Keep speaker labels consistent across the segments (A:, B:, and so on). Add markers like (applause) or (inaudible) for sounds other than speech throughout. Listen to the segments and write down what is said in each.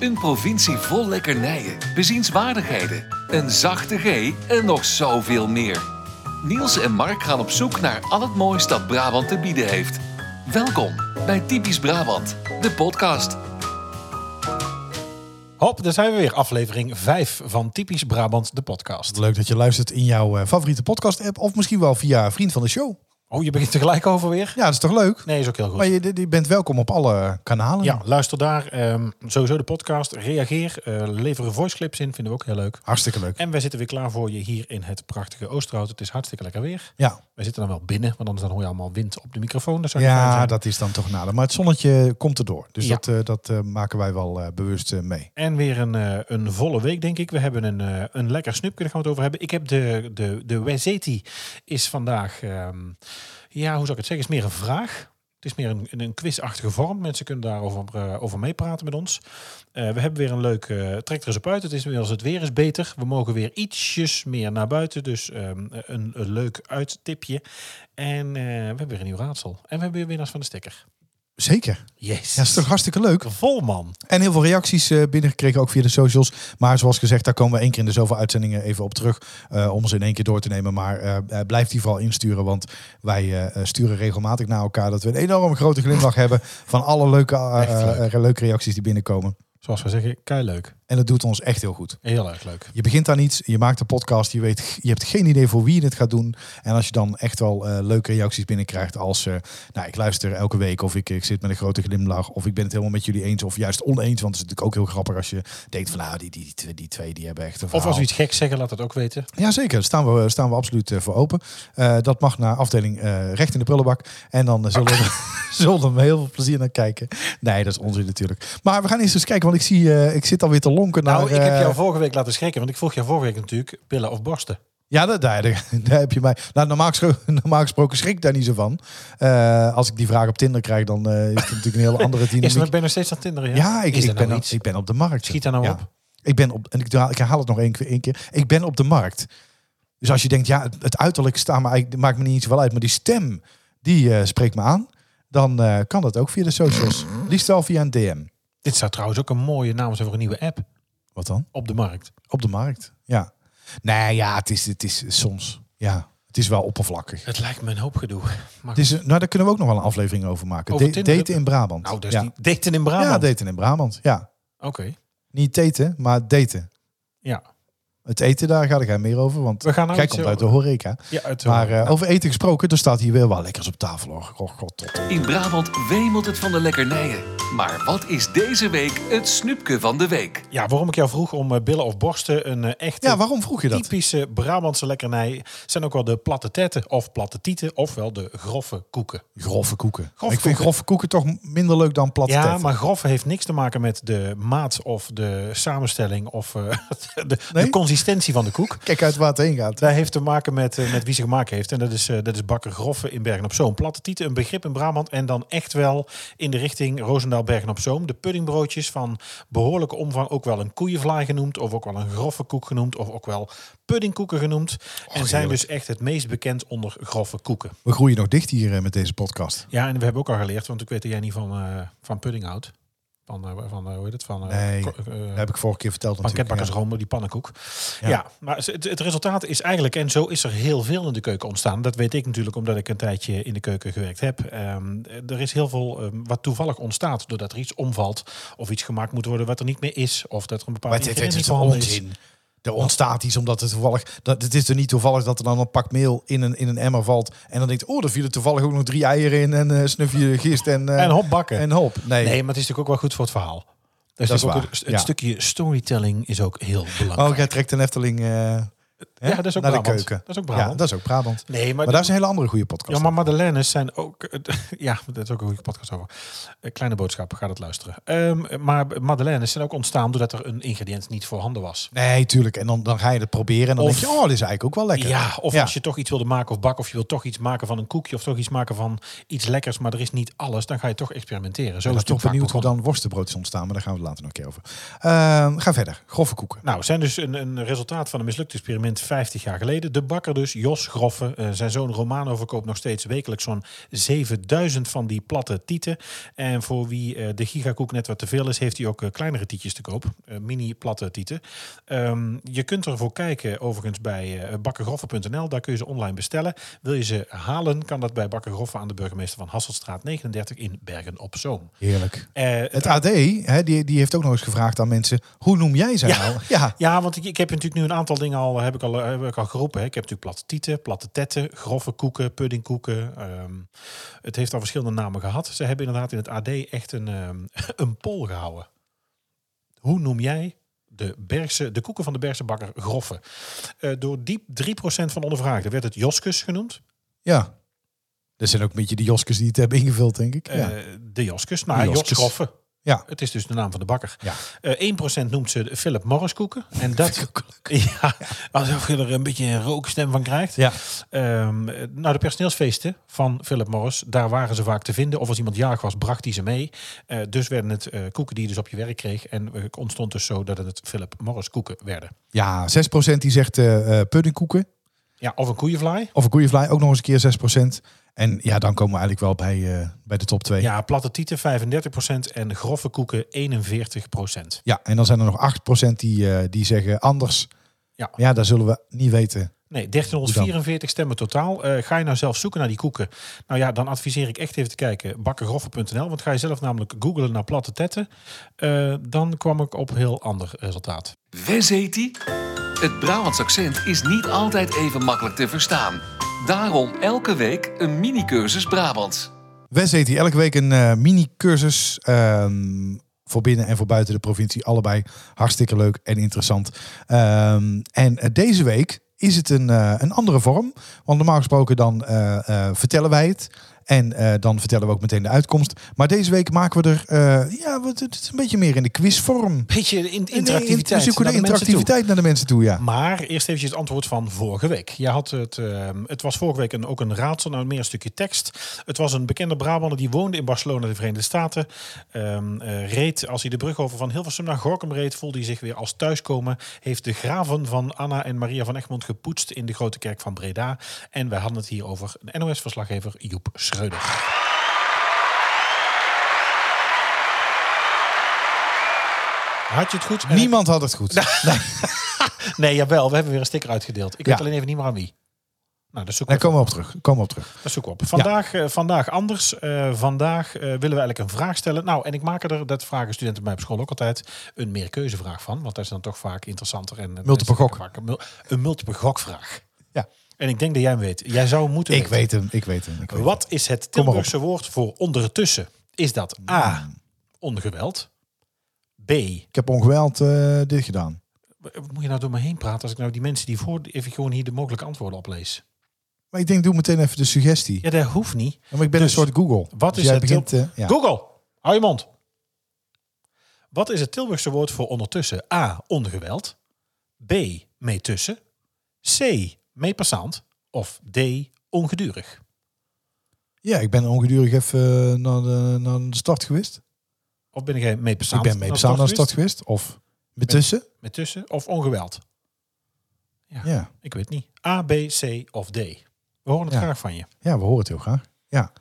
A: Een provincie vol lekkernijen, bezienswaardigheden, een zachte G en nog zoveel meer. Niels en Mark gaan op zoek naar al het moois dat Brabant te bieden heeft. Welkom bij Typisch Brabant, de podcast.
B: Hop, daar zijn we weer. Aflevering 5 van Typisch Brabant, de podcast.
C: Leuk dat je luistert in jouw eh, favoriete podcast-app of misschien wel via vriend van de show.
B: Oh, je begint tegelijk over weer?
C: Ja, dat is toch leuk?
B: Nee, is ook heel goed.
C: Maar je, je bent welkom op alle kanalen.
B: Ja, luister daar. ehm, sowieso de podcast. Reageer. eh lever voice clips in. Vinden we ook heel leuk.
C: Hartstikke leuk.
B: En wij zitten weer klaar voor je hier in het prachtige Oosterhout. Het is hartstikke lekker weer.
C: Ja,
B: Wij zitten dan wel binnen, want anders dan hoor je allemaal wind op de microfoon. Dat zou niet fijn
C: ja
B: zijn.
C: dat is dan toch nader. Maar het zonnetje komt erdoor. Dus
B: Ja.
C: dat, eh, dat eh, maken wij wel eh, bewust eh, mee.
B: En weer een, eh, een volle week, denk ik. We hebben een, eh, een lekker snoepje, daar gaan we het over hebben. Ik heb de, de, de Wezeti is vandaag, ehm, ja, hoe zou ik het zeggen, is meer een vraag. Het is meer een, een- een quizachtige vorm. Mensen kunnen daarover eh, over meepraten met ons. Eh, we hebben weer een leuk eh trek er eens op uit. Het is weer als het weer is beter. We mogen weer ietsjes meer naar buiten. Dus ehm, een, een leuk uittipje. En eh, we hebben weer een nieuw raadsel. En we hebben weer winnaars van de sticker.
C: Zeker.
B: Yes.
C: Ja, dat is toch hartstikke leuk.
B: Vol man.
C: En heel veel reacties eh, binnengekregen, ook via de socials. Maar zoals gezegd, daar komen we één keer in de zoveel uitzendingen even op terug. eh, om ze in één keer door te nemen. Maar eh, eh, blijf die vooral insturen. Want wij eh, eh, sturen regelmatig naar elkaar dat we een enorm grote glimlach (laughs) hebben. Van alle leuke, eh,
B: Echt leuk.
C: eh, eh, leuke reacties die binnenkomen.
B: Zoals we zeggen, kei leuk.
C: En dat doet ons echt heel goed.
B: Heel erg leuk.
C: Je begint aan iets, je maakt een podcast, je, weet, je hebt geen idee voor wie je het gaat doen. En als je dan echt wel eh, leuke reacties binnenkrijgt als... eh, nou, ik luister elke week of ik, ik zit met een grote glimlach... of ik ben het helemaal met jullie eens of juist oneens. Want het is natuurlijk ook heel grappig als je denkt van... nou, die, die, die, twee- die twee die hebben echt een
B: Of als
C: verhaal.
B: we iets geks zeggen, laat het ook weten.
C: Jazeker, daar staan we, staan we absoluut eh, voor open. Eh, dat mag naar afdeling eh, recht in de prullenbak. En dan eh, zullen, we, (laughs) zullen we heel veel plezier naar kijken. Nee, dat is onzin natuurlijk. Maar we gaan eerst eens kijken, want ik zie, eh, ik zit alweer te lonken naar...
B: Nou, ik heb
C: eh,
B: jou vorige week laten schrikken, want ik vroeg jou vorige week natuurlijk pillen of borsten.
C: Ja, dat, daar, daar, daar heb je mij. Nou, normaal, gesproken, (laughs) normaal gesproken schrik ik daar niet zo van. Eh, als ik die vraag op Tinder krijg, dan eh, is het natuurlijk een hele andere
B: (laughs) Is
C: dynamiek.
B: ik ben nog steeds aan Tinder. Ja,
C: Ja, ik,
B: Is
C: ik
B: dat
C: ben
B: nou
C: op,
B: iets?
C: ik ben op de markt.
B: Schiet daar nou
C: Ja.
B: op.
C: Ik ben op, en ik, haal- ik herhaal het nog één keer, één keer. Ik ben op de markt. Dus als je denkt, ja, het, het uiterlijk staat me eigenlijk, maakt me niet zoveel uit, maar die stem, die eh, spreekt me aan. Dan eh, kan dat ook via de socials. Liefst wel via een DM.
B: Dit zou trouwens ook een mooie naam zijn voor een nieuwe app
C: Wat dan?
B: op de markt.
C: Op de markt. Ja. Nee, ja, het is, het is soms. Ja, het is wel oppervlakkig.
B: Het lijkt me een hoop gedoe. Maar
C: Het is, een- nou, daar kunnen we ook nog wel een aflevering over maken.
B: Over
C: Da-
B: Tinder?
C: daten in Brabant.
B: nou, dus
C: ja.
B: die daten in
C: ja,
B: Brabant.
C: daten in Brabant. Ja.
B: Oké.
C: Niet daten, maar daten.
B: Ja.
C: Het eten, daar ga ik meer over. Want
B: We gaan nou
C: jij
B: iets
C: komt
B: over-
C: uit de horeca.
B: Ja, het,
C: Maar eh, over eten gesproken, er staat hier weer wel lekkers op tafel. Hoor. Oh, god, tot.
A: In Brabant wemelt het van de lekkernijen. Maar wat is deze week het snoepje van de week?
B: ja, waarom ik jou vroeg om eh, billen of borsten een eh, echte
C: Ja, waarom vroeg je dat?
B: typische Brabantse lekkernij zijn ook wel de platte tetten of platte tieten ofwel de grove koeken.
C: Grove koeken.
B: Grove
C: ik vind
B: koeken.
C: grove koeken toch minder leuk dan platte
B: Ja,
C: tetten.
B: maar grof heeft niks te maken met de maat of de samenstelling of eh, (laughs) de, de
C: Nee?
B: consistentie van de koek.
C: Kijk uit waar het heen gaat.
B: Dat heeft te maken met, eh, met wie ze gemaakt heeft. En dat is, eh, dat is Bakker Groffe in Bergen op Zoom. Platte tieten, een begrip in Brabant. En dan echt wel in de richting Roosendaal Bergen op Zoom. De puddingbroodjes van behoorlijke omvang. Ook wel een koeienvlaai genoemd. Of ook wel een grove koek genoemd. Of ook wel puddingkoeken genoemd. en zijn dus echt het meest bekend onder grove koeken.
C: We groeien nog dicht hier eh, met deze podcast.
B: Ja, en we hebben ook al geleerd, want ik weet dat jij niet van, eh, van pudding houdt. Van, eh, van eh, hoe heet het? Van eh,
C: Nee,
B: ko- eh,
C: Dat heb ik vorige keer verteld natuurlijk. Ja.
B: banketbakkersrommel, die pannenkoek. Ja,
C: Ja.
B: maar het, het resultaat is eigenlijk, en zo is er heel veel in de keuken ontstaan. Dat weet ik natuurlijk omdat ik een tijdje in de keuken gewerkt heb. Ehm, er is heel veel ehm, wat toevallig ontstaat doordat er iets omvalt. Of iets gemaakt moet worden wat er niet meer is. Of dat er een bepaalde
C: Maar dit, dit,
B: ingrediënt
C: dit
B: niet
C: is
B: voorhanden is.
C: onzin. Er ontstaat iets omdat het toevallig. Dat, het is er niet toevallig dat er dan een pak meel in een, in een emmer valt. En dan denkt, oh, er vielen toevallig ook nog drie eieren in. En eh snufje gist en, eh,
B: En hop bakken.
C: en hop.
B: nee,
C: Nee.
B: maar het is natuurlijk ook wel goed voor het verhaal. Dus
C: Dat is
B: natuurlijk ook
C: waar,
B: het- het
C: ja.
B: stukje storytelling is ook heel belangrijk.
C: Oh, jij trekt een Efteling eh, hè,
B: dat is ook
C: naar de
B: Brabant.
C: keuken.
B: Dat is ook Brabant.
C: Ja, dat is ook Brabant. Maar,
B: Nee, maar,
C: daar is een hele andere goede podcast.
B: Ja, maar Madeleines zijn ook... eh, (laughs) Ja, dat is ook een goede podcast over. Eh, Kleine boodschap, ga dat luisteren. Ehm, maar Madeleines zijn ook ontstaan doordat er een ingrediënt niet voorhanden was.
C: Nee, tuurlijk. En dan, dan ga je het proberen. En dan
B: Of-
C: denk je, oh, dit is eigenlijk ook wel lekker.
B: Ja, of als je toch iets wilde maken of bak, of je wil toch iets maken van een koekje, of toch iets maken van iets lekkers, maar er is niet alles, dan ga je toch experimenteren. Zo is
C: ik ben
B: het
C: toch
B: natuurlijk vaak
C: benieuwd hoe
B: begonnen.
C: dan worstenbrood is ontstaan. Maar daar gaan we het later nog een keer over. Ehm, ga verder. Grove koeken.
B: Nou, zijn dus een, een resultaat van een mislukt experiment evenement 50 jaar geleden. De bakker dus, Jos Groffe. eh, zijn zoon Romano verkoopt nog steeds wekelijks zo'n 7000 van die platte tieten. En voor wie eh, de gigakoek net wat te veel is, heeft hij ook eh, kleinere tietjes te koop. Eh, mini platte tieten. Ehm, je kunt ervoor kijken overigens bij eh bakkergroffe.nl. Daar kun je ze online bestellen. Wil je ze halen, kan dat bij Bakkergroffe aan de burgemeester van Hasselstraat 39 in Bergen op Zoom.
C: Heerlijk.
B: Eh,
C: Het AD, hè, die, die heeft ook nog eens gevraagd aan mensen, hoe noem jij ze
B: Ja.
C: nou? Ja,
B: Ja, want ik, ik heb natuurlijk nu een aantal dingen al, eh, heb ik al, heb ik al geroepen. Hè. Ik heb natuurlijk platte tieten, platte tetten, grove koeken, puddingkoeken. ehm, het heeft al verschillende namen gehad. Ze hebben inderdaad in het AD echt een, ehm, (laughs) een poll gehouden. Hoe noem jij de, Bergse, de koeken van de Bergse bakker groffe? Eh, door diep 3% van de ondervraagden werd het Joskus genoemd.
C: ja. Dat zijn ook een beetje de Joskes die het hebben ingevuld, denk ik. Ja.
B: Eh, de Joskus, nou, Jos
C: Joskus.
B: groffe.
C: Ja.
B: Het is dus de naam van de bakker.
C: Ja.
B: Eh 1% noemt ze de Philip Morris koeken. En dat,
C: (laughs)
B: ja, alsof je er een beetje een rookstem van krijgt.
C: ja.
B: Ehm, nou, de personeelsfeesten van Philip Morris, daar waren ze vaak te vinden. Of als iemand jarig was, bracht hij ze mee. Eh, dus werden het eh, koeken die je dus op je werk kreeg. En eh, ontstond dus zo dat het Philip Morris koeken werden.
C: Ja, 6% die zegt eh eh, puddingkoeken
B: Ja, of een koeienvlaai.
C: of een koeienvlaai, ook nog eens een keer 6%. En ja, dan komen we eigenlijk wel bij, eh, bij de top 2. Ja.
B: Ja, platte tieten 35% en grove koeken 41%.
C: en dan zijn er nog 8% die, eh, die zeggen anders.
B: Ja.
C: Maar ja, daar zullen we niet weten.
B: Nee, 1344 stemmen totaal. Eh, ga je nou zelf zoeken naar die koeken? Nou ja, dan adviseer ik echt even te kijken. Bakkergroffe.nl. Want ga je zelf namelijk googlen naar platte tetten. eh, dan kwam ik op heel ander resultaat.
A: Wes heet die? Het Brabants accent is niet altijd even makkelijk te verstaan. Daarom elke week een mini-cursus Brabants.
C: Wes heet hier elke week een eh, mini-cursus ehm, voor binnen en voor buiten de provincie. Allebei hartstikke leuk en interessant. Ehm, en eh, deze week is het een, eh, een andere vorm. Want normaal gesproken dan eh, eh, vertellen wij het. En eh, dan vertellen we ook meteen de uitkomst. Maar deze week maken we er eh, ja, wat- het is een beetje meer in de quizvorm.
B: Beetje de in-
C: Nee, we
B: interactiviteit.
C: zoeken
B: naar
C: de
B: de mensen toe.
C: interactiviteit naar de mensen toe, ja.
B: Maar eerst even het antwoord van vorige week. Je had het, ehm, het was vorige week een, ook een raadsel, nou meer een stukje tekst. Het was een bekende Brabander die woonde in Barcelona, de Verenigde Staten. Ehm, eh, reed, als hij de brug over van Hilversum naar Gorkum reed, voelde hij zich weer als thuiskomen. Heeft de graven van Anna en Maria van Egmond gepoetst in de grote kerk van Breda. En wij hadden het hier over een NOS-verslaggever Joep Schreuder. Had je het goed? En-
C: Niemand had het
B: Nou.
C: goed.
B: Nee, jawel, we hebben weer een sticker uitgedeeld. Ik
C: Ja.
B: weet alleen even niet meer aan wie. Nou, dat zoeken,
C: Daar
B: we,
C: komen we op terug. Komen we op terug.
B: dat zoeken we op. Vandaag, eh, vandaag anders. Eh, vandaag eh, willen we eigenlijk een vraag stellen. Nou, en ik maak er, dat vragen studenten bij mij op school ook altijd, een meerkeuzevraag van. Want dat is dan toch vaak interessanter. En,
C: Multiple gok.
B: vaak Een, mul- een multiple gokvraag.
C: Ja.
B: En ik denk dat jij hem weet. Jij zou hem moeten
C: Ik
B: weten.
C: weet hem, ik weet hem. Ik weet hem.
B: Wat is het
C: Kom maar op.
B: Tilburgse woord voor ondertussen? Is dat A, ongeweld? B,
C: Ik heb ongeweld eh, dit gedaan.
B: wat moet je nou door me heen praten als ik nou die mensen die voor, even gewoon hier de mogelijke antwoorden oplees?
C: Maar ik denk, doe meteen even de suggestie.
B: Ja, dat hoeft niet.
C: Ja, maar ik ben
B: Dus,
C: een soort Google.
B: wat
C: Dus
B: is
C: jij
B: het
C: begint, eh, ja.
B: Google, hou je mond. Wat is het Tilburgse woord voor ondertussen? A. Ongeweld. B. Meetussen. C. Meepassant. Of D. Ongedurig.
C: ja, ik ben ongedurig even eh, naar de, naar de start geweest.
B: Of ben jij
C: ik
B: meepassant?
C: ben mee samen naar de start geweest. Of betussen.
B: Meetussen of ongeweld? Ja.
C: Ja.
B: Ik weet niet. A, B, C of D. We horen het
C: Ja.
B: graag van je.
C: ja, we horen het heel graag. Ja.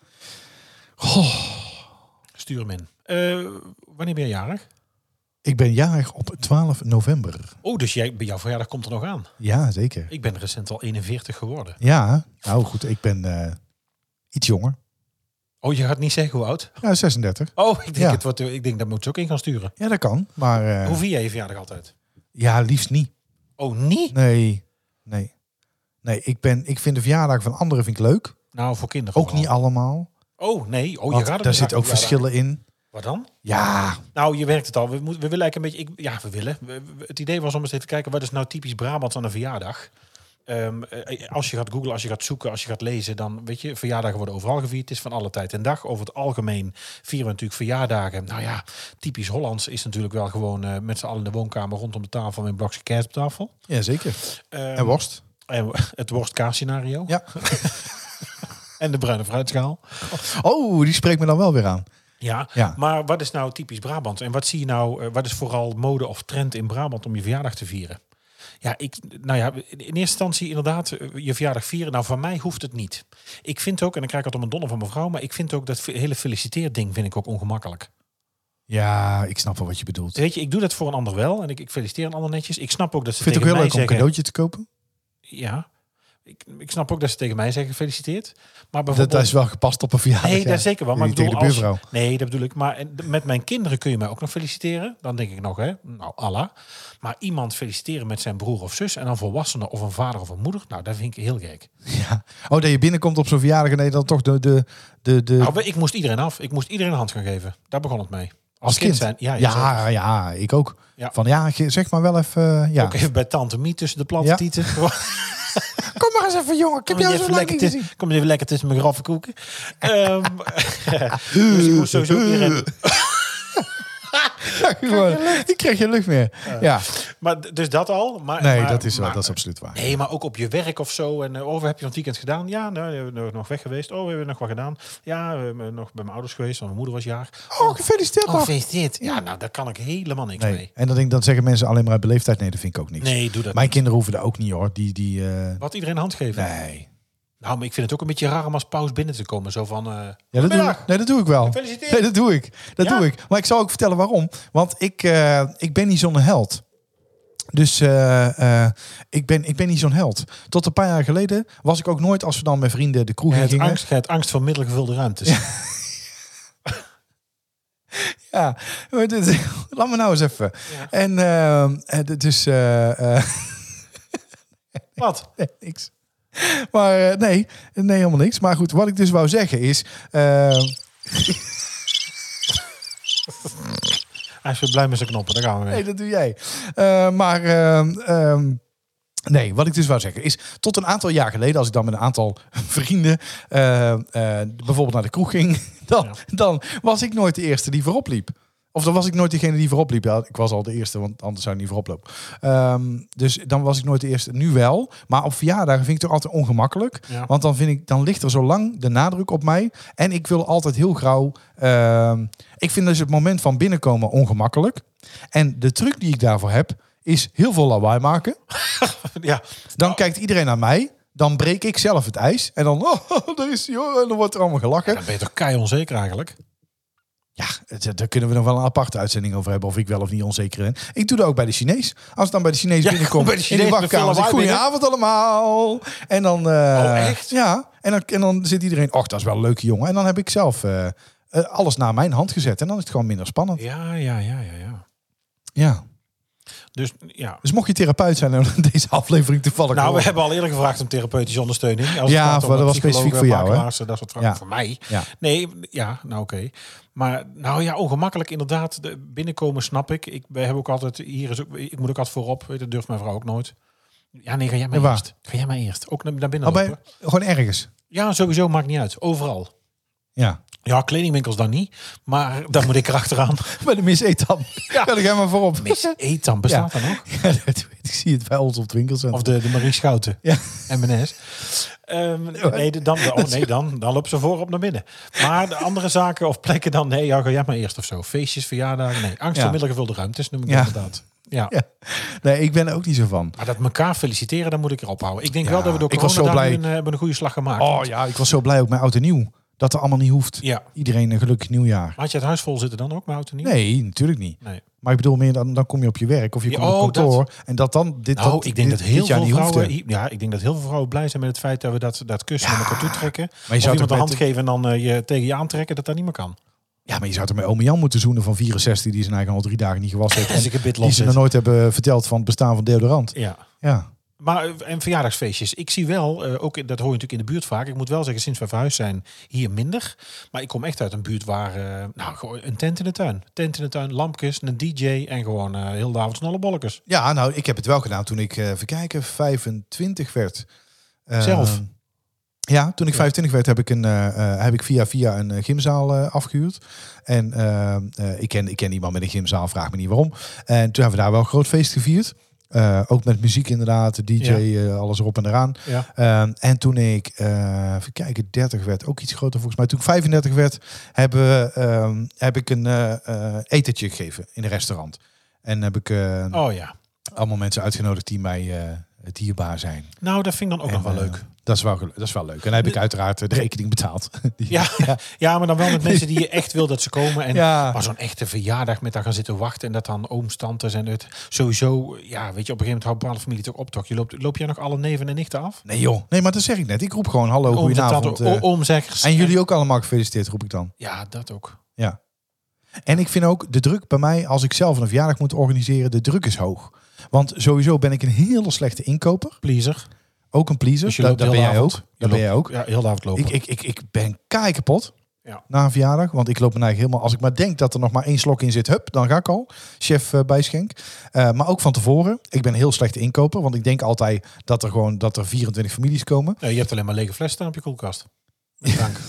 B: Stuur hem in. Eh, wanneer ben je jarig?
C: Ik ben jarig op 12 november.
B: Oh, dus jij, bij jouw verjaardag komt er nog aan.
C: Ja, zeker.
B: Ik ben recent al 41 geworden.
C: Ja, nou goed, ik ben eh, iets jonger.
B: Oh, je gaat niet zeggen hoe oud?
C: Ja, 36.
B: Oh, ik denk,
C: Ja.
B: het wordt, ik denk dat moet ze ook in gaan sturen.
C: Ja, dat kan. Maar eh,
B: Hoe vier jij je verjaardag altijd?
C: ja, liefst niet.
B: Oh, niet?
C: Nee, nee. Nee, ik, ben, ik vind de verjaardag van anderen vind ik leuk.
B: Nou, voor kinderen.
C: Ook niet
B: vooral.
C: allemaal.
B: Oh, nee. Oh, je
C: Want
B: gaat het
C: daar
B: niet
C: zitten ook
B: aan je verjaardag.
C: verschillen in.
B: Wat dan?
C: Ja,
B: Nou, je werkt het al. We, moeten, we willen eigenlijk een beetje... Ik, ja, we willen. We- we- het idee was om eens even te kijken... wat is nou typisch Brabants aan een verjaardag? Ehm, eh, als je gaat googlen, als je gaat zoeken, als je gaat lezen... dan weet je, verjaardagen worden overal gevierd. Het is van alle tijd en dag. Over het algemeen vieren we natuurlijk verjaardagen. Nou ja, typisch Hollands is natuurlijk wel gewoon... eh, met z'n allen in de woonkamer rondom de tafel... met een blokje kerst op tafel.
C: ja zeker.
B: Ehm,
C: En worst.
B: En (laughs) het worst-kaas-scenario.
C: Ja.
B: en de bruine fruitschaal.
C: Oh, die spreekt me dan wel weer aan.
B: Ja.
C: Ja.
B: Maar wat is nou typisch Brabant? En wat zie je nou, eh, wat is vooral mode of trend in Brabant om je verjaardag te vieren? Ja, ik, nou ja, in eerste instantie inderdaad eh, je verjaardag vieren. Nou, van mij hoeft het niet. Ik vind ook, en dan krijg ik altijd een donder van mijn vrouw, maar ik vind ook dat fe- hele feliciteerding vind ik ook ongemakkelijk.
C: Ja, ik snap wel wat je bedoelt. Ik
B: Weet je, ik doe dat voor een ander wel en ik, ik feliciteer een ander netjes. Ik snap ook dat ze
C: vind het ook
B: tegen
C: heel leuk
B: mij
C: om een
B: zeggen,
C: cadeautje te kopen.
B: Ja, ik, ik snap ook dat ze tegen mij zeggen gefeliciteerd. Maar
C: Dat,
B: bijvoorbeeld,
C: dat is wel gepast op een verjaardag.
B: Nee,
C: ja.
B: dat is zeker wel. Maar ik
C: Niet eh, tegen
B: bedoel,
C: de
B: als,
C: buurvrouw.
B: nee, dat bedoel ik. Maar en d- met mijn kinderen kun je mij ook nog feliciteren. Dan denk ik nog, hè, nou, Allah. Maar iemand feliciteren met zijn broer of zus en dan volwassenen of een vader of een moeder, nou, dat vind ik heel gek.
C: Ja. Oh, dat je binnenkomt op zo'n verjaardag en dat je dan toch de... de, de, de
B: Nou, we- ik moest iedereen af. Ik moest iedereen een hand gaan geven. Daar begon het mee. Als, zijn, ja,
C: Ja,
B: je zou-
C: ja, ik ook.
B: Ja.
C: Van ja, ge- zeg maar wel even... eh, ja.
B: Ook even bij tante Miet tussen de platte
C: Ja. (laughs)
B: tieten.
C: Kom maar eens even, jongen. Ik heb
B: Kom je
C: jou
B: even,
C: zo lang
B: Oh, lekker
C: niet
B: tussen-
C: gezien.
B: kom je even lekker tussen mijn graffe koeken. Ehm, (laughs) dus ik moest sowieso
C: (laughs)
B: iedereen...
C: Gewoon, ik krijg geen lucht meer. ja.
B: Maar d- dus dat al. Maar,
C: Nee,
B: maar-
C: dat, is, wel-
B: maar-
C: dat is absoluut waar.
B: Nee, maar ook op je werk of zo. En eh, oh, wat heb je nog het weekend gedaan? Ja, nou, we hebben nog weg geweest. Oh, we hebben nog wat gedaan. Ja, we hebben eh, nog bij mijn ouders geweest, want mijn moeder was jarig.
C: Oh, gefeliciteerd, man.
B: dit? Ja, nou, daar kan ik helemaal niks
C: Nee.
B: mee.
C: En dan, denk, ik- dan zeggen mensen alleen maar uit beleefdheid. Nee, dat vind ik ook niks.
B: Nee, doe dat
C: Mijn kinderen hoeven dat ook niet, hoor. Die, die, eh,
B: Wat iedereen een hand geven.
C: nee.
B: Nou, maar ik vind het ook een beetje raar om als paus binnen te komen. Zo van, eh,
C: Ja, dat doe, ik-
B: Goedemiddag.
C: nee, dat doe ik wel.
B: Gefeliciteerd.
C: Nee, dat doe ik. Dat
B: Ja.
C: doe ik. Maar ik zal ook vertellen waarom. Want ik, eh, ik ben niet zo'n held. Dus eh, eh, ik, ben, ik ben niet zo'n held. Tot een paar jaar geleden was ik ook nooit, als we dan met vrienden de kroeg in
B: het
C: gingen.
B: angst, het angst voor middelgevulde ruimtes.
C: Ja, (laughs) maar dit, laat me nou eens even.
B: Ja.
C: En eh, eh, dit is eh, eh,
B: Wat?
C: Nee, (laughs) niks. Maar eh, nee, nee, helemaal niks. Maar goed, wat ik dus wou zeggen is... eh,
B: Hij is weer blij met zijn knoppen, daar gaan we
C: Nee,
B: mee.
C: dat doe jij. Eh, maar ehm, ehm, nee, wat ik dus wou zeggen is... tot een aantal jaar geleden, als ik dan met een aantal (laughs) vrienden... eh, eh, bijvoorbeeld naar de kroeg ging... (laughs) Dan,
B: Ja.
C: dan was ik nooit de eerste die voorop liep. Of dan was ik nooit degene die voorop liep. Ja, ik was al de eerste, want anders zou ik niet voorop lopen. Ehm, dus dan was ik nooit de eerste. Nu wel. Maar op verjaardagen vind ik het toch altijd ongemakkelijk.
B: Ja.
C: Want dan, vind ik, dan ligt er zo lang de nadruk op mij. En ik wil altijd heel grauw. ehm, ik vind dus het moment van binnenkomen ongemakkelijk. En de truc die ik daarvoor heb, is heel veel lawaai maken.
B: Ja,
C: Dan kijkt iedereen naar mij. Dan breek ik zelf het ijs. En dan, (laughs) oh, daar is hij, hoor. En dan wordt er allemaal gelachen.
B: dan ben je toch kei onzeker eigenlijk.
C: Ja, het- daar kunnen we nog wel een aparte uitzending over hebben. Of ik wel of niet onzeker ben. Ik doe dat ook bij de Chinees. Als ik dan (laughs) bij de Chinees
B: Ja,
C: binnenkom.
B: bij de
C: in
B: Chinees
C: de
B: met
C: wachtkamer.
B: veel
C: zeg ik,
B: lawaai
C: Goedenavond allemaal. En dan. eh,
B: Oh, echt?
C: Ja. En dan, en dan zit iedereen. Och, dat is wel een leuke jongen. En dan heb ik zelf eh, eh, alles naar mijn hand gezet. En dan is het gewoon minder spannend.
B: Ja, ja, ja, ja, ja.
C: Ja.
B: Dus ja.
C: Dus mocht je therapeut zijn en (laughs) deze aflevering toevallig.
B: Nou, we
C: hoort.
B: hebben al eerder gevraagd om therapeutische ondersteuning. Als het
C: Ja,
B: gaat om
C: dat was
B: psychologen,
C: specifiek voor jou, hè?
B: makelaars, eh, Dat soort vragen
C: Ja.
B: voor mij.
C: Ja.
B: Nee, ja, nou oké. Maar nou ja, ongemakkelijk inderdaad. De binnenkomen snap ik. Ik we hebben ook altijd, hier is ook, ik moet ook altijd voorop. Dat durft mijn vrouw ook nooit. Ja, nee, ga jij maar
C: En waar?
B: eerst. Ga jij maar eerst. Ook naar naar binnen
C: Oh, bij,
B: lopen.
C: gewoon ergens.
B: Ja, sowieso, maakt niet uit. Overal.
C: Ja.
B: Ja, kledingwinkels dan niet. Maar (laughs) dan moet ik erachteraan.
C: (laughs) Bij de Miss Etam. Ja. Kan ik helemaal voorop.
B: Miss Etam bestaat
C: Ja.
B: dan nog.
C: (laughs) Ja, dat weet ik. ik zie het bij ons op het winkelcentrum.
B: Of de, de Marie Schouten.
C: Ja.
B: MNS. Ehm, nee, de- dan, oh nee, dan, dan lopen ze voorop naar binnen. Maar de andere zaken of plekken dan, nee, ja, ga jij maar eerst of zo. Feestjes, verjaardagen, nee. Angst
C: Ja.
B: voor middelgevulde ruimtes noem ik
C: Ja.
B: dat inderdaad. Ja.
C: Ja. Nee, ik ben er ook niet zo van.
B: Maar dat elkaar feliciteren, daar moet ik erop houden. Ik denk
C: Ja,
B: wel dat we door
C: ik was
B: corona
C: zo
B: daar
C: blij.
B: nu een, eh, hebben een goede slag gemaakt.
C: Oh ja, ik was zo blij ook met oud en nieuw. Dat er allemaal niet hoeft.
B: Ja.
C: Iedereen een gelukkig nieuwjaar.
B: Had je het huis vol zitten dan ook, maar houdt er niet?
C: Nee, natuurlijk niet.
B: Nee.
C: Maar ik bedoel meer dan, dan kom je op je werk of je
B: Ja,
C: komt op
B: oh,
C: kantoor. En dat dan dit
B: Nou,
C: dat,
B: ik denk
C: dit-
B: dat heel
C: dit jaar
B: veel
C: niet hoefde.
B: vrouwen, ja, ik denk dat heel veel vrouwen blij zijn met het feit dat we dat, dat kussen naar elkaar toe trekken.
C: je
B: of
C: zou
B: iemand
C: toch
B: een hand
C: met-
B: geven en dan eh, je tegen je aantrekken, dat dat niet meer kan.
C: Ja, maar je zou toch met ome Jan moeten zoenen van 64 die zijn eigen al drie dagen niet (laughs) gewassen heeft.
B: Als ik een bit
C: die
B: los
C: ze
B: zit.
C: nog nooit hebben verteld van het bestaan van deodorant.
B: Ja.
C: Ja.
B: Maar eh, en verjaardagsfeestjes. Ik zie wel, eh, ook in- dat hoor je natuurlijk in de buurt vaak. Ik moet wel zeggen, sinds we verhuisd zijn, hier minder. Maar ik kom echt uit een buurt waar, eh, nou, gewoon een tent in de tuin. Tent in de tuin, lampjes, een DJ en gewoon eh, heel de avond snolle bolletjes.
C: ja, nou, ik heb het wel gedaan toen ik, eh even kijken, 25 werd. Eh,
B: Zelf?
C: Ja, toen ik 25 werd heb ik, een, eh, eh, heb ik via via een eh, gymzaal eh, afgehuurd. En eh, eh, ik, ken, ik ken iemand met een gymzaal, vraag me niet waarom. En toen hebben we daar wel een groot feest gevierd. Eh, ook met muziek inderdaad, DJ,
B: Ja.
C: eh, alles erop en eraan.
B: Ja.
C: Ehm, en toen ik, eh even kijken, 30 werd, ook iets groter volgens mij. Toen ik 35 werd, hebben, we, ehm, heb ik een eh, eh, etentje gegeven in een restaurant. En heb ik eh,
B: Oh ja.
C: allemaal mensen uitgenodigd die mij eh, het dierbaar zijn.
B: Nou, dat vind ik dan ook
C: En,
B: nog wel
C: eh,
B: leuk.
C: dat, is wel, gel- dat is wel leuk. En dan heb ik uiteraard eh, de rekening betaald. (laughs) Die-
B: Ja, (laughs) ja, maar dan wel met mensen die je echt wil dat ze komen. En
C: (laughs) Ja.
B: Maar zo'n echte verjaardag met daar gaan zitten wachten. En dat dan ooms, tantes en het. Sowieso, ja, weet je, op een gegeven moment houdt bepaalde familie toch optocht. Je loopt, loop jij nog alle neven en nichten af?
C: Nee joh. Nee, maar dat zeg ik net. Ik roep gewoon hallo,
B: Ooms en
C: goedenavond.
B: tantes,
C: eh,
B: o- oomzeggers.
C: en jullie ook allemaal gefeliciteerd, roep ik dan.
B: Ja, dat ook.
C: Ja. En ik vind ook de druk bij mij, als ik zelf een verjaardag moet organiseren, de druk is hoog. Want sowieso ben ik een hele slechte inkoper.
B: Pleaser.
C: Ook een pleaser.
B: Dus je
C: dat
B: loopt
C: dat
B: heel
C: ben
B: de
C: jij ook.
B: avond.
C: Dat
B: Je
C: ben jij ook.
B: Ja, heel de avond lopen.
C: Ik, ik, ik, ik ben kei kapot
B: Ja.
C: na een verjaardag. Want ik loop mijn eigen helemaal... Als ik maar denk dat er nog maar één slok in zit, hup, dan ga ik al. Chef eh, bijschenk. Eh, maar ook van tevoren. Ik ben een heel slechte inkoper. Want ik denk altijd dat er gewoon dat er 24 families komen.
B: Nee, je hebt alleen maar lege flessen staan op je koelkast. Dank.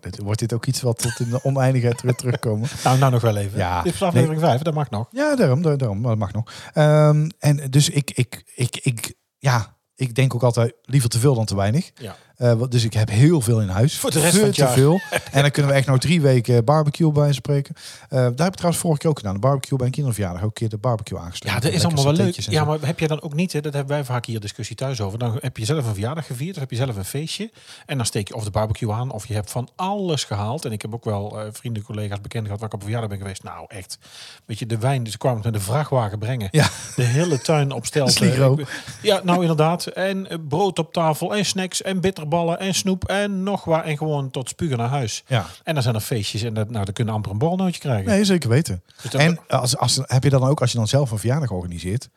C: Dat- Wordt dit ook iets wat tot in de oneindigheid weer terugkomen?
B: nou, nou nog wel even.
C: Ja.
B: Dit is aflevering 5, dat mag nog.
C: Ja, daarom, daar- daarom. Maar dat mag nog. Ehm, en dus ik, ik, ik, ik, ja, ik denk ook altijd liever te veel dan te weinig.
B: Ja.
C: Eh, wat- dus ik heb heel veel in huis.
B: Voor de rest
C: Te-
B: van het
C: Te
B: jaar.
C: veel. En dan kunnen we echt nog drie weken barbecue bij spreken. Eh, daar heb ik trouwens vorige keer ook gedaan. De barbecue bij een kinderverjaardag. Ook een keer de barbecue aangesloten.
B: Ja, dat is
C: Lekker
B: allemaal wel leuk.
C: satéetjes en
B: Ja,
C: zo.
B: maar heb je dan ook niet, hè, dat hebben wij vaak hier discussie thuis over. Dan heb je zelf een verjaardag gevierd, of heb je zelf een feestje. En dan steek je of de barbecue aan, of je hebt van alles gehaald. En ik heb ook wel eh, vrienden, collega's, bekenden gehad waar ik op een verjaardag ben geweest. Nou, echt. Weet je, de wijn, dus ze kwamen het met een vrachtwagen brengen.
C: Ja. (laughs)
B: De hele tuin op stel.
C: Sligro.
B: Ja, nou inderdaad. En eh, brood op tafel, en snacks, en bitterballen, en snoep, en nog waar. En gewoon tot spugen naar huis.
C: Ja.
B: En dan zijn er feestjes en dat, nou, dan kunnen amper een borrelnootje krijgen.
C: Nee, zeker weten.
B: Dus dat-
C: En als, als, heb je dan ook, als je dan zelf een verjaardag organiseert,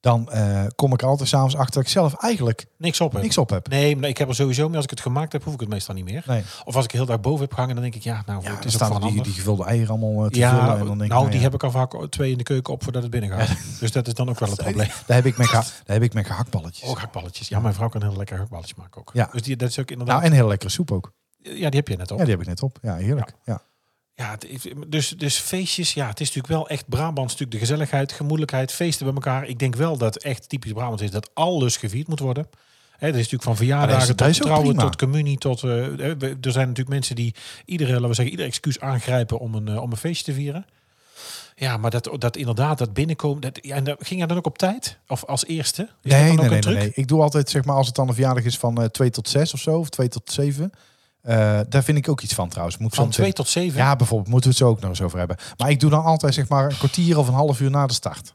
C: dan eh, kom ik er altijd s'avonds achter dat ik zelf eigenlijk
B: Niks op, hè?
C: niks op heb.
B: Nee, maar ik heb er sowieso mee. Als ik het gemaakt heb, hoef ik het meestal niet meer.
C: Nee.
B: Of als ik heel daar boven heb gehangen, dan denk ik, ja, nou,
C: Ja,
B: het
C: dan
B: is ook
C: staan
B: van
C: die, die
B: handig.
C: gevulde eieren allemaal eh, te
B: Ja,
C: vullen. En dan denk ik,
B: nou,
C: ja.
B: die heb ik al vaak twee in de keuken op voordat het binnen gaat. Dus dat is dan ook wel het probleem.
C: (laughs) Daar heb ik mijn, geha- daar heb ik mijn gehaktballetjes.
B: Ook hakballetjes. Ja, mijn vrouw kan heel lekker hakballetjes maken ook.
C: Ja.
B: Dus die, dat is ook inderdaad...
C: nou, en heel lekkere soep ook.
B: ja, die heb je net al.
C: Ja, die heb ik net op. Ja, heerlijk. Ja.
B: Ja, het is- dus, dus feestjes, ja, het is natuurlijk wel echt Brabants natuurlijk de gezelligheid, gemoedelijkheid, feesten bij elkaar. Ik denk wel dat echt typisch Brabants is dat alles gevierd moet worden. Hè, er is natuurlijk van
C: Maar dat
B: verjaardagen
C: is- dat
B: tot
C: is ook
B: trouwen,
C: prima.
B: tot communie, tot... eh, we- er zijn natuurlijk mensen die iedere, laten we zeggen, ieder excuus aangrijpen om een, eh, om een feestje te vieren. Ja, maar dat, dat inderdaad, dat binnenkomen... Dat, ja, en dat, ging jij dan ook op tijd? Of als eerste? Is dat dan
C: Nee, nee,
B: ook
C: nee,
B: een
C: nee,
B: truc?
C: nee. Ik doe altijd, zeg maar, als het dan een verjaardag is van eh 2 tot 6 of zo, of 2 tot 7. eh, daar vind ik ook iets van trouwens. Moet ik
B: Van
C: soms
B: twee
C: zeggen-
B: tot zeven?
C: Ja, bijvoorbeeld, moeten we het zo ook nog eens over hebben. Maar ik doe dan altijd, zeg maar, een kwartier of een half uur na de start.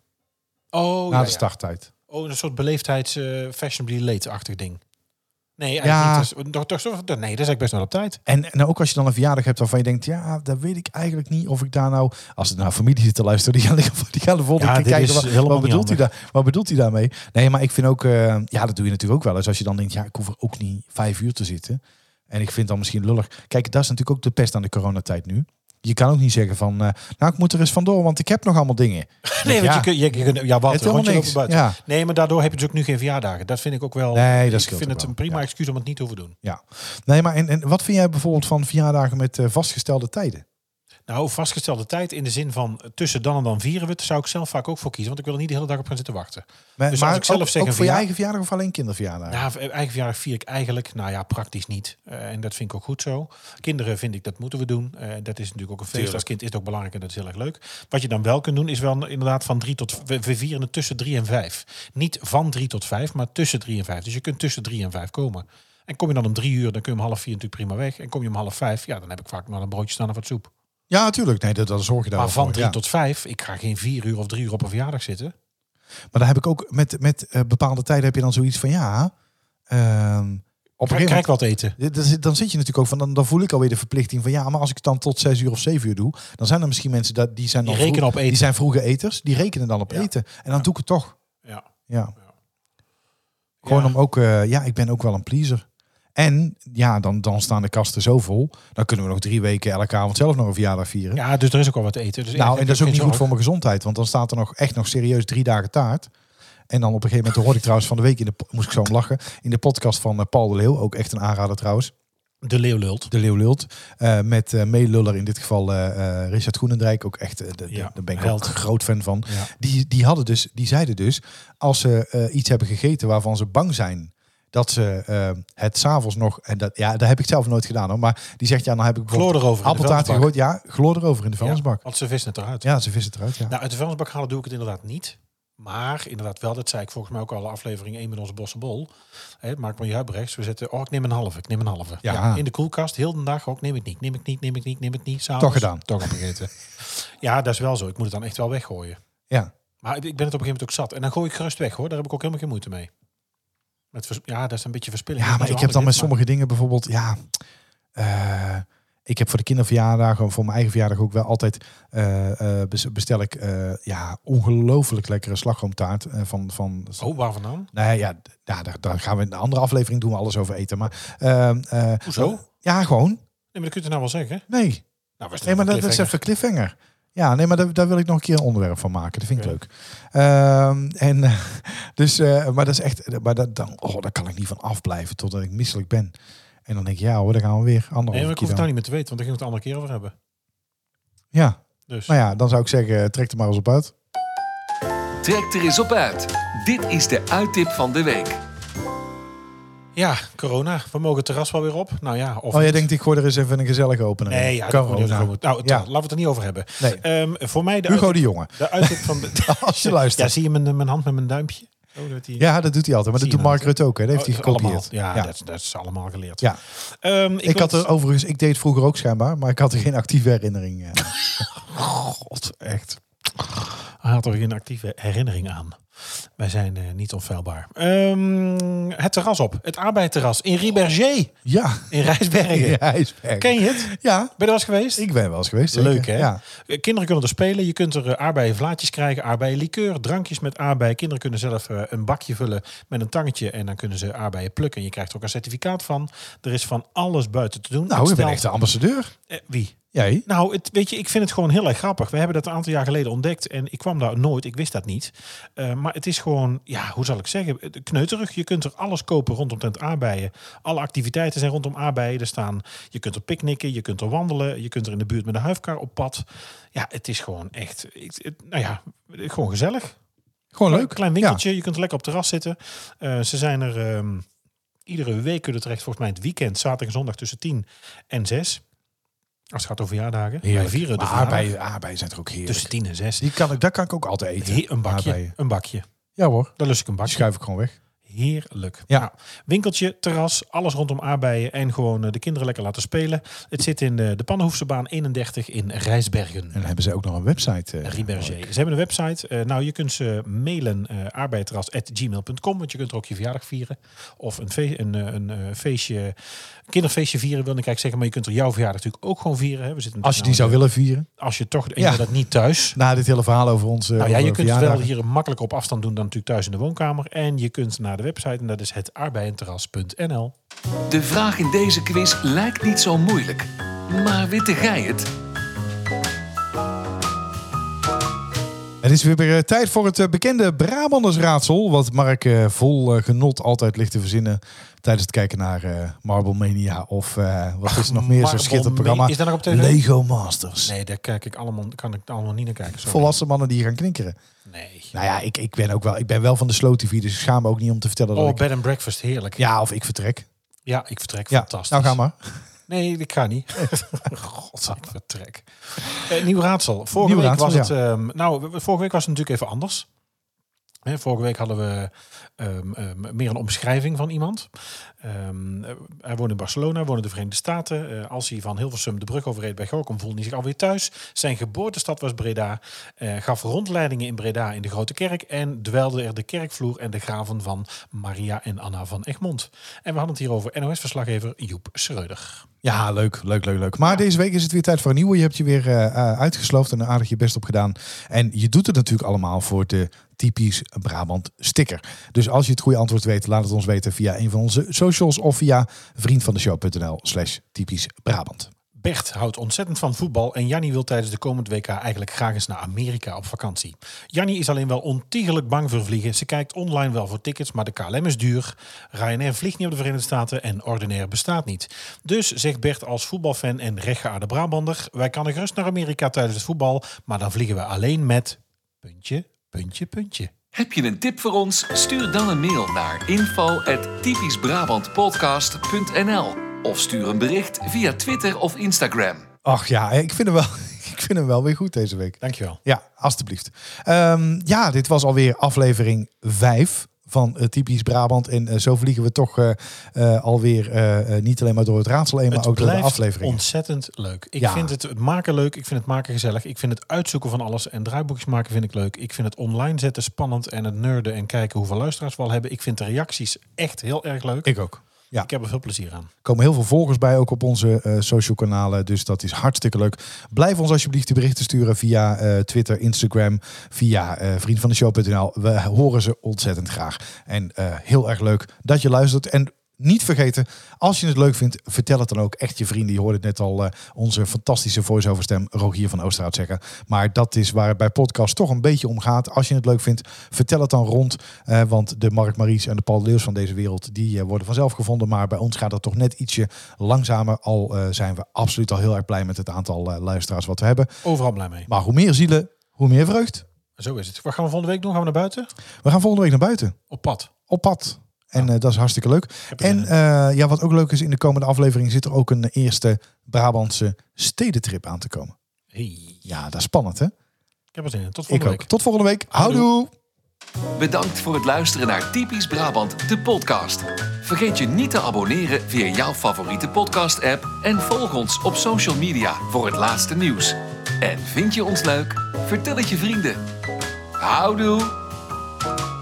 B: oh,
C: na
B: ja,
C: de
B: ja.
C: starttijd.
B: Oh, een soort beleefdheids eh, fashionably late-achtig ding. Nee,
C: Ja.
B: eigenlijk niet. Dat is- toch- toch- nee, dat is eigenlijk best wel op tijd.
C: En, en ook als je dan een verjaardag hebt waarvan je denkt, ja, dat weet ik eigenlijk niet of ik daar nou, als het nou familie zit te luisteren, die gaan, liggen- die gaan de (laughs) volgende
B: Ja,
C: keer
B: dit
C: kijken,
B: is
C: wat,
B: helemaal
C: wat
B: niet
C: bedoelt hij daar, wat bedoelt hij daarmee? Nee, maar ik vind ook, eh, ja, dat doe je natuurlijk ook wel eens als je dan denkt, ja, ik hoef er ook niet vijf uur te zitten. En ik vind dan misschien lullig. Kijk, dat is natuurlijk ook de pest aan de coronatijd nu. Je kan ook niet zeggen van, eh, nou, ik moet er eens vandoor, want ik heb nog allemaal
B: (laughs)
C: dingen.
B: Nee, want
C: ja.
B: je kunt... Je, je, kunt- ja, wat,
C: Het
B: een
C: helemaal
B: rondje lopen
C: niks.
B: buiten.
C: Ja.
B: Nee, maar daardoor heb je dus ook nu geen verjaardagen. Dat vind ik ook wel...
C: Nee, dat
B: Ik
C: scheelt
B: vind
C: ook
B: het
C: wel,
B: een prima
C: ja.
B: excuus om het niet te hoeven doen.
C: Ja. Nee, maar en, en wat vind jij bijvoorbeeld van verjaardagen met eh, vastgestelde tijden?
B: Nou, vastgestelde tijd in de zin van eh, tussen dan en dan vieren we het, zou ik zelf vaak ook voor kiezen. Want ik wil er niet de hele dag op gaan zitten wachten.
C: Maar,
B: Dus
C: maar
B: als ik zelf
C: ook,
B: zeg
C: ook
B: een
C: voor je
B: verjaardag-
C: eigen verjaardag of alleen kinderverjaardag?
B: Ja, v- eigen verjaardag vier ik eigenlijk, nou ja, praktisch niet. Eh, en dat vind ik ook goed zo. Kinderen vind ik, dat moeten we doen. Eh, dat is natuurlijk ook een feest. Als kind is het ook belangrijk en dat is heel erg leuk. Wat je dan wel kunt doen, is wel inderdaad van drie tot... We, we vieren het tussen drie en vijf. Niet van drie tot vijf, maar tussen drie en vijf. Dus je kunt tussen drie en vijf komen. En kom je dan om drie uur, dan kun je om half vier natuurlijk prima weg. En kom je om half vijf, ja, dan heb ik vaak nog een broodje staan of wat soep.
C: Ja, natuurlijk. Nee, dat, dat zorg je daar
B: Maar
C: wel
B: van
C: voor,
B: drie
C: ja.
B: tot vijf, ik ga geen vier uur of drie uur op een verjaardag zitten.
C: Maar daar heb ik ook met, met eh, bepaalde tijden heb je dan zoiets van ja. ehm, op een
B: Krijg,
C: gegeven
B: krijg
C: moment.
B: wat eten.
C: Dan zit- Dan zit je natuurlijk ook van, dan, dan voel ik alweer de verplichting van ja, maar als ik het dan tot zes uur of zeven uur doe, dan zijn er misschien mensen dat, die zijn
B: Die
C: dan
B: rekenen op eten.
C: die zijn vroege eters, die rekenen dan op
B: Ja.
C: eten. En dan doe ik het toch.
B: Ja.
C: Ja. Gewoon
B: Ja.
C: om ook, eh, ja, ik ben ook wel een pleaser. En ja, dan, dan staan de kasten zo vol, dan kunnen we nog drie weken elke avond zelf nog een verjaardag vieren.
B: Ja, dus er is ook al wat te eten. Dus
C: Nou, en
B: ik
C: dat is ook
B: heb
C: niet
B: geen
C: goed voor mijn gezondheid, want dan staat er nog echt nog serieus drie dagen taart. En dan op een gegeven moment hoorde ik trouwens van de week in de po- moest ik zo om lachen in de podcast van eh, Paul de Leeuw, ook echt een aanrader trouwens.
B: zorg. De leeuw lult.
C: De Leeuw lult eh, met eh meeluller in dit geval eh, eh, Richard Groenendijk, ook echt eh, de, de-
B: Ja,
C: daar ben ik
B: held.
C: ook groot fan van.
B: Ja.
C: Die, die hadden dus, die zeiden dus als ze eh, iets hebben gegeten waarvan ze bang zijn dat ze eh, het s'avonds nog en dat ja, daar heb ik zelf nooit gedaan hoor, maar die zegt ja, dan heb ik
B: Gloor
C: bijvoorbeeld
B: erover. in de
C: appeltaart
B: vuilnisbak.
C: gegooid, ja, gloor erover in de vuilnisbak.
B: Ja, want ze vissen het eruit.
C: Ja, ze vissen het eruit, ja.
B: Nou, uit de vuilnisbak halen doe ik het inderdaad niet. Maar inderdaad wel, dat zei ik volgens mij ook al aflevering 1 met onze Bossenbol. Hè, maak maar je huibrechts. We zetten, oh ik neem een halve, ik neem een halve.
C: Ja.
B: in de koelkast, heel de dag ook, neem ik niet, neem ik niet, neem ik niet, neem ik niet. S'avonds,
C: Toch gedaan.
B: Toch opgegeten. (laughs) ja, dat is wel zo. Ik moet het dan echt wel weggooien.
C: Ja.
B: Maar ik ben het op een gegeven moment ook zat. En dan gooi ik gerust weg hoor. Daar heb ik ook helemaal geen moeite mee. Met vers- ja, dat is een beetje verspilling.
C: Ja,
B: Dat
C: maar
B: is
C: ik heb
B: wel
C: dan met
B: handig,
C: sommige dingen bijvoorbeeld, ja, eh, ik heb voor de kinderverjaardagen, en voor mijn eigen verjaardag ook wel altijd, eh, eh, bes- bestel ik, eh, ja, ongelooflijk lekkere slagroomtaart eh, van, van
B: maar- Oh, waar vandaan?
C: Nee, ja, d- ja daar, daar gaan we in een andere aflevering doen we alles over eten. Maar, ehm, eh,
B: Hoezo?
C: Ja, gewoon.
B: Nee, maar dat kun je nou wel zeggen.
C: Nee.
B: Nou, was het
C: Nee, maar
B: een
C: dat, dat is
B: cliffhanger.
C: even cliffhanger. Ja, nee, maar daar, daar wil ik nog een keer een onderwerp van maken. Dat vind
B: Oké.
C: ik leuk. Ehm, en (laughs) eh, dus, eh, maar dat is echt, maar dat, dan, oh, daar kan ik niet van afblijven totdat ik misselijk ben. En dan denk ik, ja hoor, dan gaan we weer
B: Nee,
C: anderhalf
B: maar ik hoef
C: keer
B: het nou
C: dan.
B: niet meer te weten, want daar ging we het een andere keer over hebben.
C: Ja,
B: Dus.
C: maar ja, dan zou ik zeggen, eh, trek er maar eens op uit.
A: Trek er eens op uit. Dit is de uittip van de week.
B: Ja, corona. We mogen het terras wel weer op. Nou ja, of
C: Oh, jij
B: niet.
C: denkt, ik gooi er eens even een gezellige opener in.
B: Nee, ja, dat moet je
C: Corona.
B: ook gewoon- Nou, het-
C: Ja.
B: laten we het er niet over hebben.
C: Nee.
B: Ehm, voor mij de,
C: Hugo
B: uit,
C: de Jonge,
B: de uitdruk van de...
C: (laughs) als je luistert.
B: Ja, zie je mijn, mijn hand met mijn duimpje? Oh, dat die...
C: Ja, dat doet hij altijd. Maar
B: Zie
C: dat
B: je
C: doet
B: dat?
C: Mark Rutte ook. Hè? Dat heeft hij
B: Oh, allemaal.
C: gekopieerd.
B: Ja,
C: Ja.
B: Dat, is- dat is allemaal geleerd.
C: Ja.
B: Ehm,
C: Ik, had
B: wil-
C: er overigens, ik deed het vroeger ook schijnbaar, maar ik had er geen actieve herinnering. eh.
B: (laughs) God, echt. Hij had er geen actieve herinnering aan. Wij zijn eh, niet onfeilbaar. Ehm, het terras op. Het arbeidterras in Riberger
C: ja,
B: in Rijsbergen.
C: ja, hij is erg.
B: Ken je het? Ben
C: Ja,
B: je er wel eens geweest?
C: ik ben wel eens geweest. zeker.
B: Leuk, hè?
C: Ja.
B: Eh, Kinderen kunnen er spelen. Je kunt er eh, aardbeien vlaatjes krijgen, aardbeien likeur, drankjes met aardbeien. Kinderen kunnen zelf eh, een bakje vullen met een tangetje en dan kunnen ze aardbeien plukken. Je krijgt er ook een certificaat van. Er is van alles buiten te doen.
C: Nou,
B: Ik
C: je bent
B: stel-
C: echt de ambassadeur.
B: Eh, wie?
C: Jij?
B: Nou, het, weet je, ik vind het gewoon heel erg grappig. We hebben dat een aantal jaar geleden ontdekt en ik kwam daar nooit. Ik wist dat niet. Eh, maar het is gewoon, ja, hoe zal ik zeggen, eh, kneuterig. Je kunt er alles kopen rondom tent aardbeien. Alle activiteiten zijn rondom aardbeien. Er staan, je kunt er picknicken, je kunt er wandelen, je kunt er in de buurt met een huifkar op pad. Ja, het is gewoon echt, ik- het- nou ja, gewoon gezellig.
C: Gewoon
B: Leuk.
C: Oh, leuk.
B: Klein winkeltje, je kunt lekker op het terras zitten. Eh, ze zijn er ehm, iedere week kunnen terecht, volgens mij in het weekend, zaterdag en zondag tussen 10 en 6. Als het gaat over verjaardagen.
C: Ja.
B: Wij vieren de
C: maar
B: verjaardag
C: aardbeien, aardbeien zijn er ook heerlijk.
B: tussen 10 en 6.
C: Die kan ik, daar kan ik ook altijd eten.
B: Heer- een bakje.
C: Aardbeien.
B: Een bakje.
C: Ja hoor,
B: Daar lus ik een
C: die
B: bakje.
C: schuif ik gewoon weg.
B: Heerlijk.
C: Ja.
B: Nou, winkeltje, terras, alles rondom aardbeien en gewoon eh, de kinderen lekker laten spelen. Het zit in eh, de Pannenhoefsebaan 31 in Rijsbergen.
C: En dan hebben ze ook nog een website. eh,
B: Riberger.
C: Mark.
B: Ze hebben een website. Eh, nou, je kunt ze mailen eh arbeidterras.gmail.com. Want je kunt er ook je verjaardag vieren. Of een, feest, een, eh, een eh, feestje, kinderfeestje vieren wilde ik eigenlijk zeggen. Maar je kunt er jouw verjaardag natuurlijk ook gewoon vieren. Hè. We zitten
C: Als je die
B: natuurlijk
C: zou
B: nou
C: willen vieren.
B: in de- Als je toch... En
C: Ja.
B: je wil dat niet thuis.
C: Na dit hele verhaal over ons. eh,
B: Nou ja, je
C: over
B: kunt het wel
C: verjaardagen.
B: hier makkelijk op afstand doen dan natuurlijk thuis in de woonkamer. En je kunt naar de website en dat is het arbeidenterras.nl.
A: De vraag in deze quiz lijkt niet zo moeilijk. Maar witte gij het?
C: Het is weer eh, tijd voor het eh, bekende Brabandersraadsel. Wat Mark eh, vol eh, genot altijd ligt te verzinnen. tijdens het kijken naar eh Marble Mania. of eh, wat is er nog meer zo'n
B: Marble
C: schitterend
B: Ma-
C: programma?
B: Is dat nog op tv?
C: Lego Masters.
B: Nee, daar kijk ik allemaal, kan ik allemaal niet naar kijken. sorry.
C: Volwassen mannen die hier gaan knikkeren.
B: Nee.
C: Nou ja, ik, ik, ben ook wel, ik ben wel van de slow TV, dus ik schaam me ook niet om te vertellen
B: Oh,
C: dat ik...
B: bed and breakfast, heerlijk.
C: Ja, of ik vertrek.
B: Ja, ik vertrek.
C: Ja,
B: Fantastisch.
C: nou ga maar.
B: Nee, ik ga
C: (laughs)
B: niet. God, ik vertrek. Eh, nieuw raadsel. Vorige
C: Nieuw
B: week
C: raadsel,
B: was
C: ja.
B: het. ehm, nou, we- we- vorige week was het natuurlijk even anders. Hè, vorige week hadden we ehm, ehm, meer een omschrijving van iemand. Ehm, eh, hij woonde in Barcelona, woonde in de Verenigde Staten. Eh, als hij van Hilversum de brug overreed bij Gorkum, voelde hij zich alweer thuis. Zijn geboortestad was Breda. eh, gaf rondleidingen in Breda in de Grote Kerk. En dwelde er de kerkvloer en de graven van Maria en Anna van Egmond. En we hadden het hier over NOS-verslaggever Joep Schreuder.
C: Ja, leuk, leuk, leuk, leuk. Maar deze week is het weer tijd voor een nieuwe. Je hebt je weer eh, eh, uitgesloofd en aardig je best op gedaan. En je doet het natuurlijk allemaal voor de typisch Brabant sticker. Dus als je het goede antwoord weet, laat het ons weten via een van onze socials of via vriendvandeshow.nl slash typisch Brabant.
B: Bert houdt ontzettend van voetbal en Jannie wil tijdens de komend WK eigenlijk graag eens naar Amerika op vakantie. Jannie is alleen wel ontiegelijk bang voor vliegen. Ze kijkt online wel voor tickets, maar de KLM is duur. Ryanair vliegt niet op de Verenigde Staten en ordinair bestaat niet. Dus zegt Bert als voetbalfan en rechtgeaarde Brabander: wij kunnen gerust naar Amerika tijdens het voetbal, maar dan vliegen we alleen met puntje, puntje, puntje.
A: Heb je een tip voor ons? Stuur dan een mail naar info.typischbrabantpodcast.nl of stuur een bericht via Twitter of Instagram.
C: Ach ja, ik vind hem wel... (laughs) ik vind hem wel weer goed deze week.
B: Dankjewel.
C: Ja, alstublieft. Ehm, ja, dit was alweer aflevering 5 van eh, Typisch Brabant. En eh, zo vliegen we toch eh, eh, alweer eh, eh, niet alleen maar door het raadsel heen, maar
B: het
C: ook door de
B: blijft
C: aflevering.
B: ontzettend leuk. Ik
C: Ja.
B: vind het, het maken leuk, ik vind het maken gezellig, ik vind het uitzoeken van alles en draaiboekjes maken vind ik leuk. Ik vind het online zetten spannend en het nerden en kijken hoeveel luisteraars we al hebben. Ik vind de reacties echt heel erg leuk.
C: Ik ook. Ja.
B: Ik heb er veel plezier aan.
C: Er komen heel veel volgers bij, ook op onze eh, social kanalen. Dus dat is hartstikke leuk. Blijf ons alsjeblieft de berichten sturen via eh, Twitter, Instagram, via eh vriendvandeshow.nl. We horen ze ontzettend graag. En eh, heel erg leuk dat je luistert. En niet vergeten, als je het leuk vindt, vertel het dan ook echt je vrienden. Je hoorde het net al eh, onze fantastische voice-over stem Rogier van Oosterhout zeggen. Maar dat is waar het bij podcast toch een beetje om gaat. Als je het leuk vindt, vertel het dan rond. Eh, want de Mark Maries en de Paul Leeuws van deze wereld, die eh, worden vanzelf gevonden. Maar bij ons gaat dat toch net ietsje langzamer. Al eh, zijn we absoluut al heel erg blij met het aantal eh, luisteraars wat we hebben.
B: Overal blij mee.
C: Maar hoe meer zielen, hoe meer vreugd.
B: Zo is het. Wat gaan we volgende week doen? Gaan we naar buiten?
C: We gaan volgende week naar buiten.
B: Op pad.
C: op pad. En eh, dat is hartstikke leuk.
B: Heb je
C: En
B: zin in.
C: eh, ja, wat ook leuk is, in de komende aflevering zit er ook een eerste Brabantse stedentrip aan te komen.
B: Hey.
C: Ja, dat is spannend, hè?
B: Ik heb er zin in. Tot
C: Ik
B: volgende
C: ook.
B: week.
C: Tot volgende week. Houdoe.
A: Bedankt voor het luisteren naar Typisch Brabant, de podcast. Vergeet je niet te abonneren via jouw favoriete podcast-app en volg ons op social media voor het laatste nieuws. En vind je ons leuk? Vertel het je vrienden. Houdoe!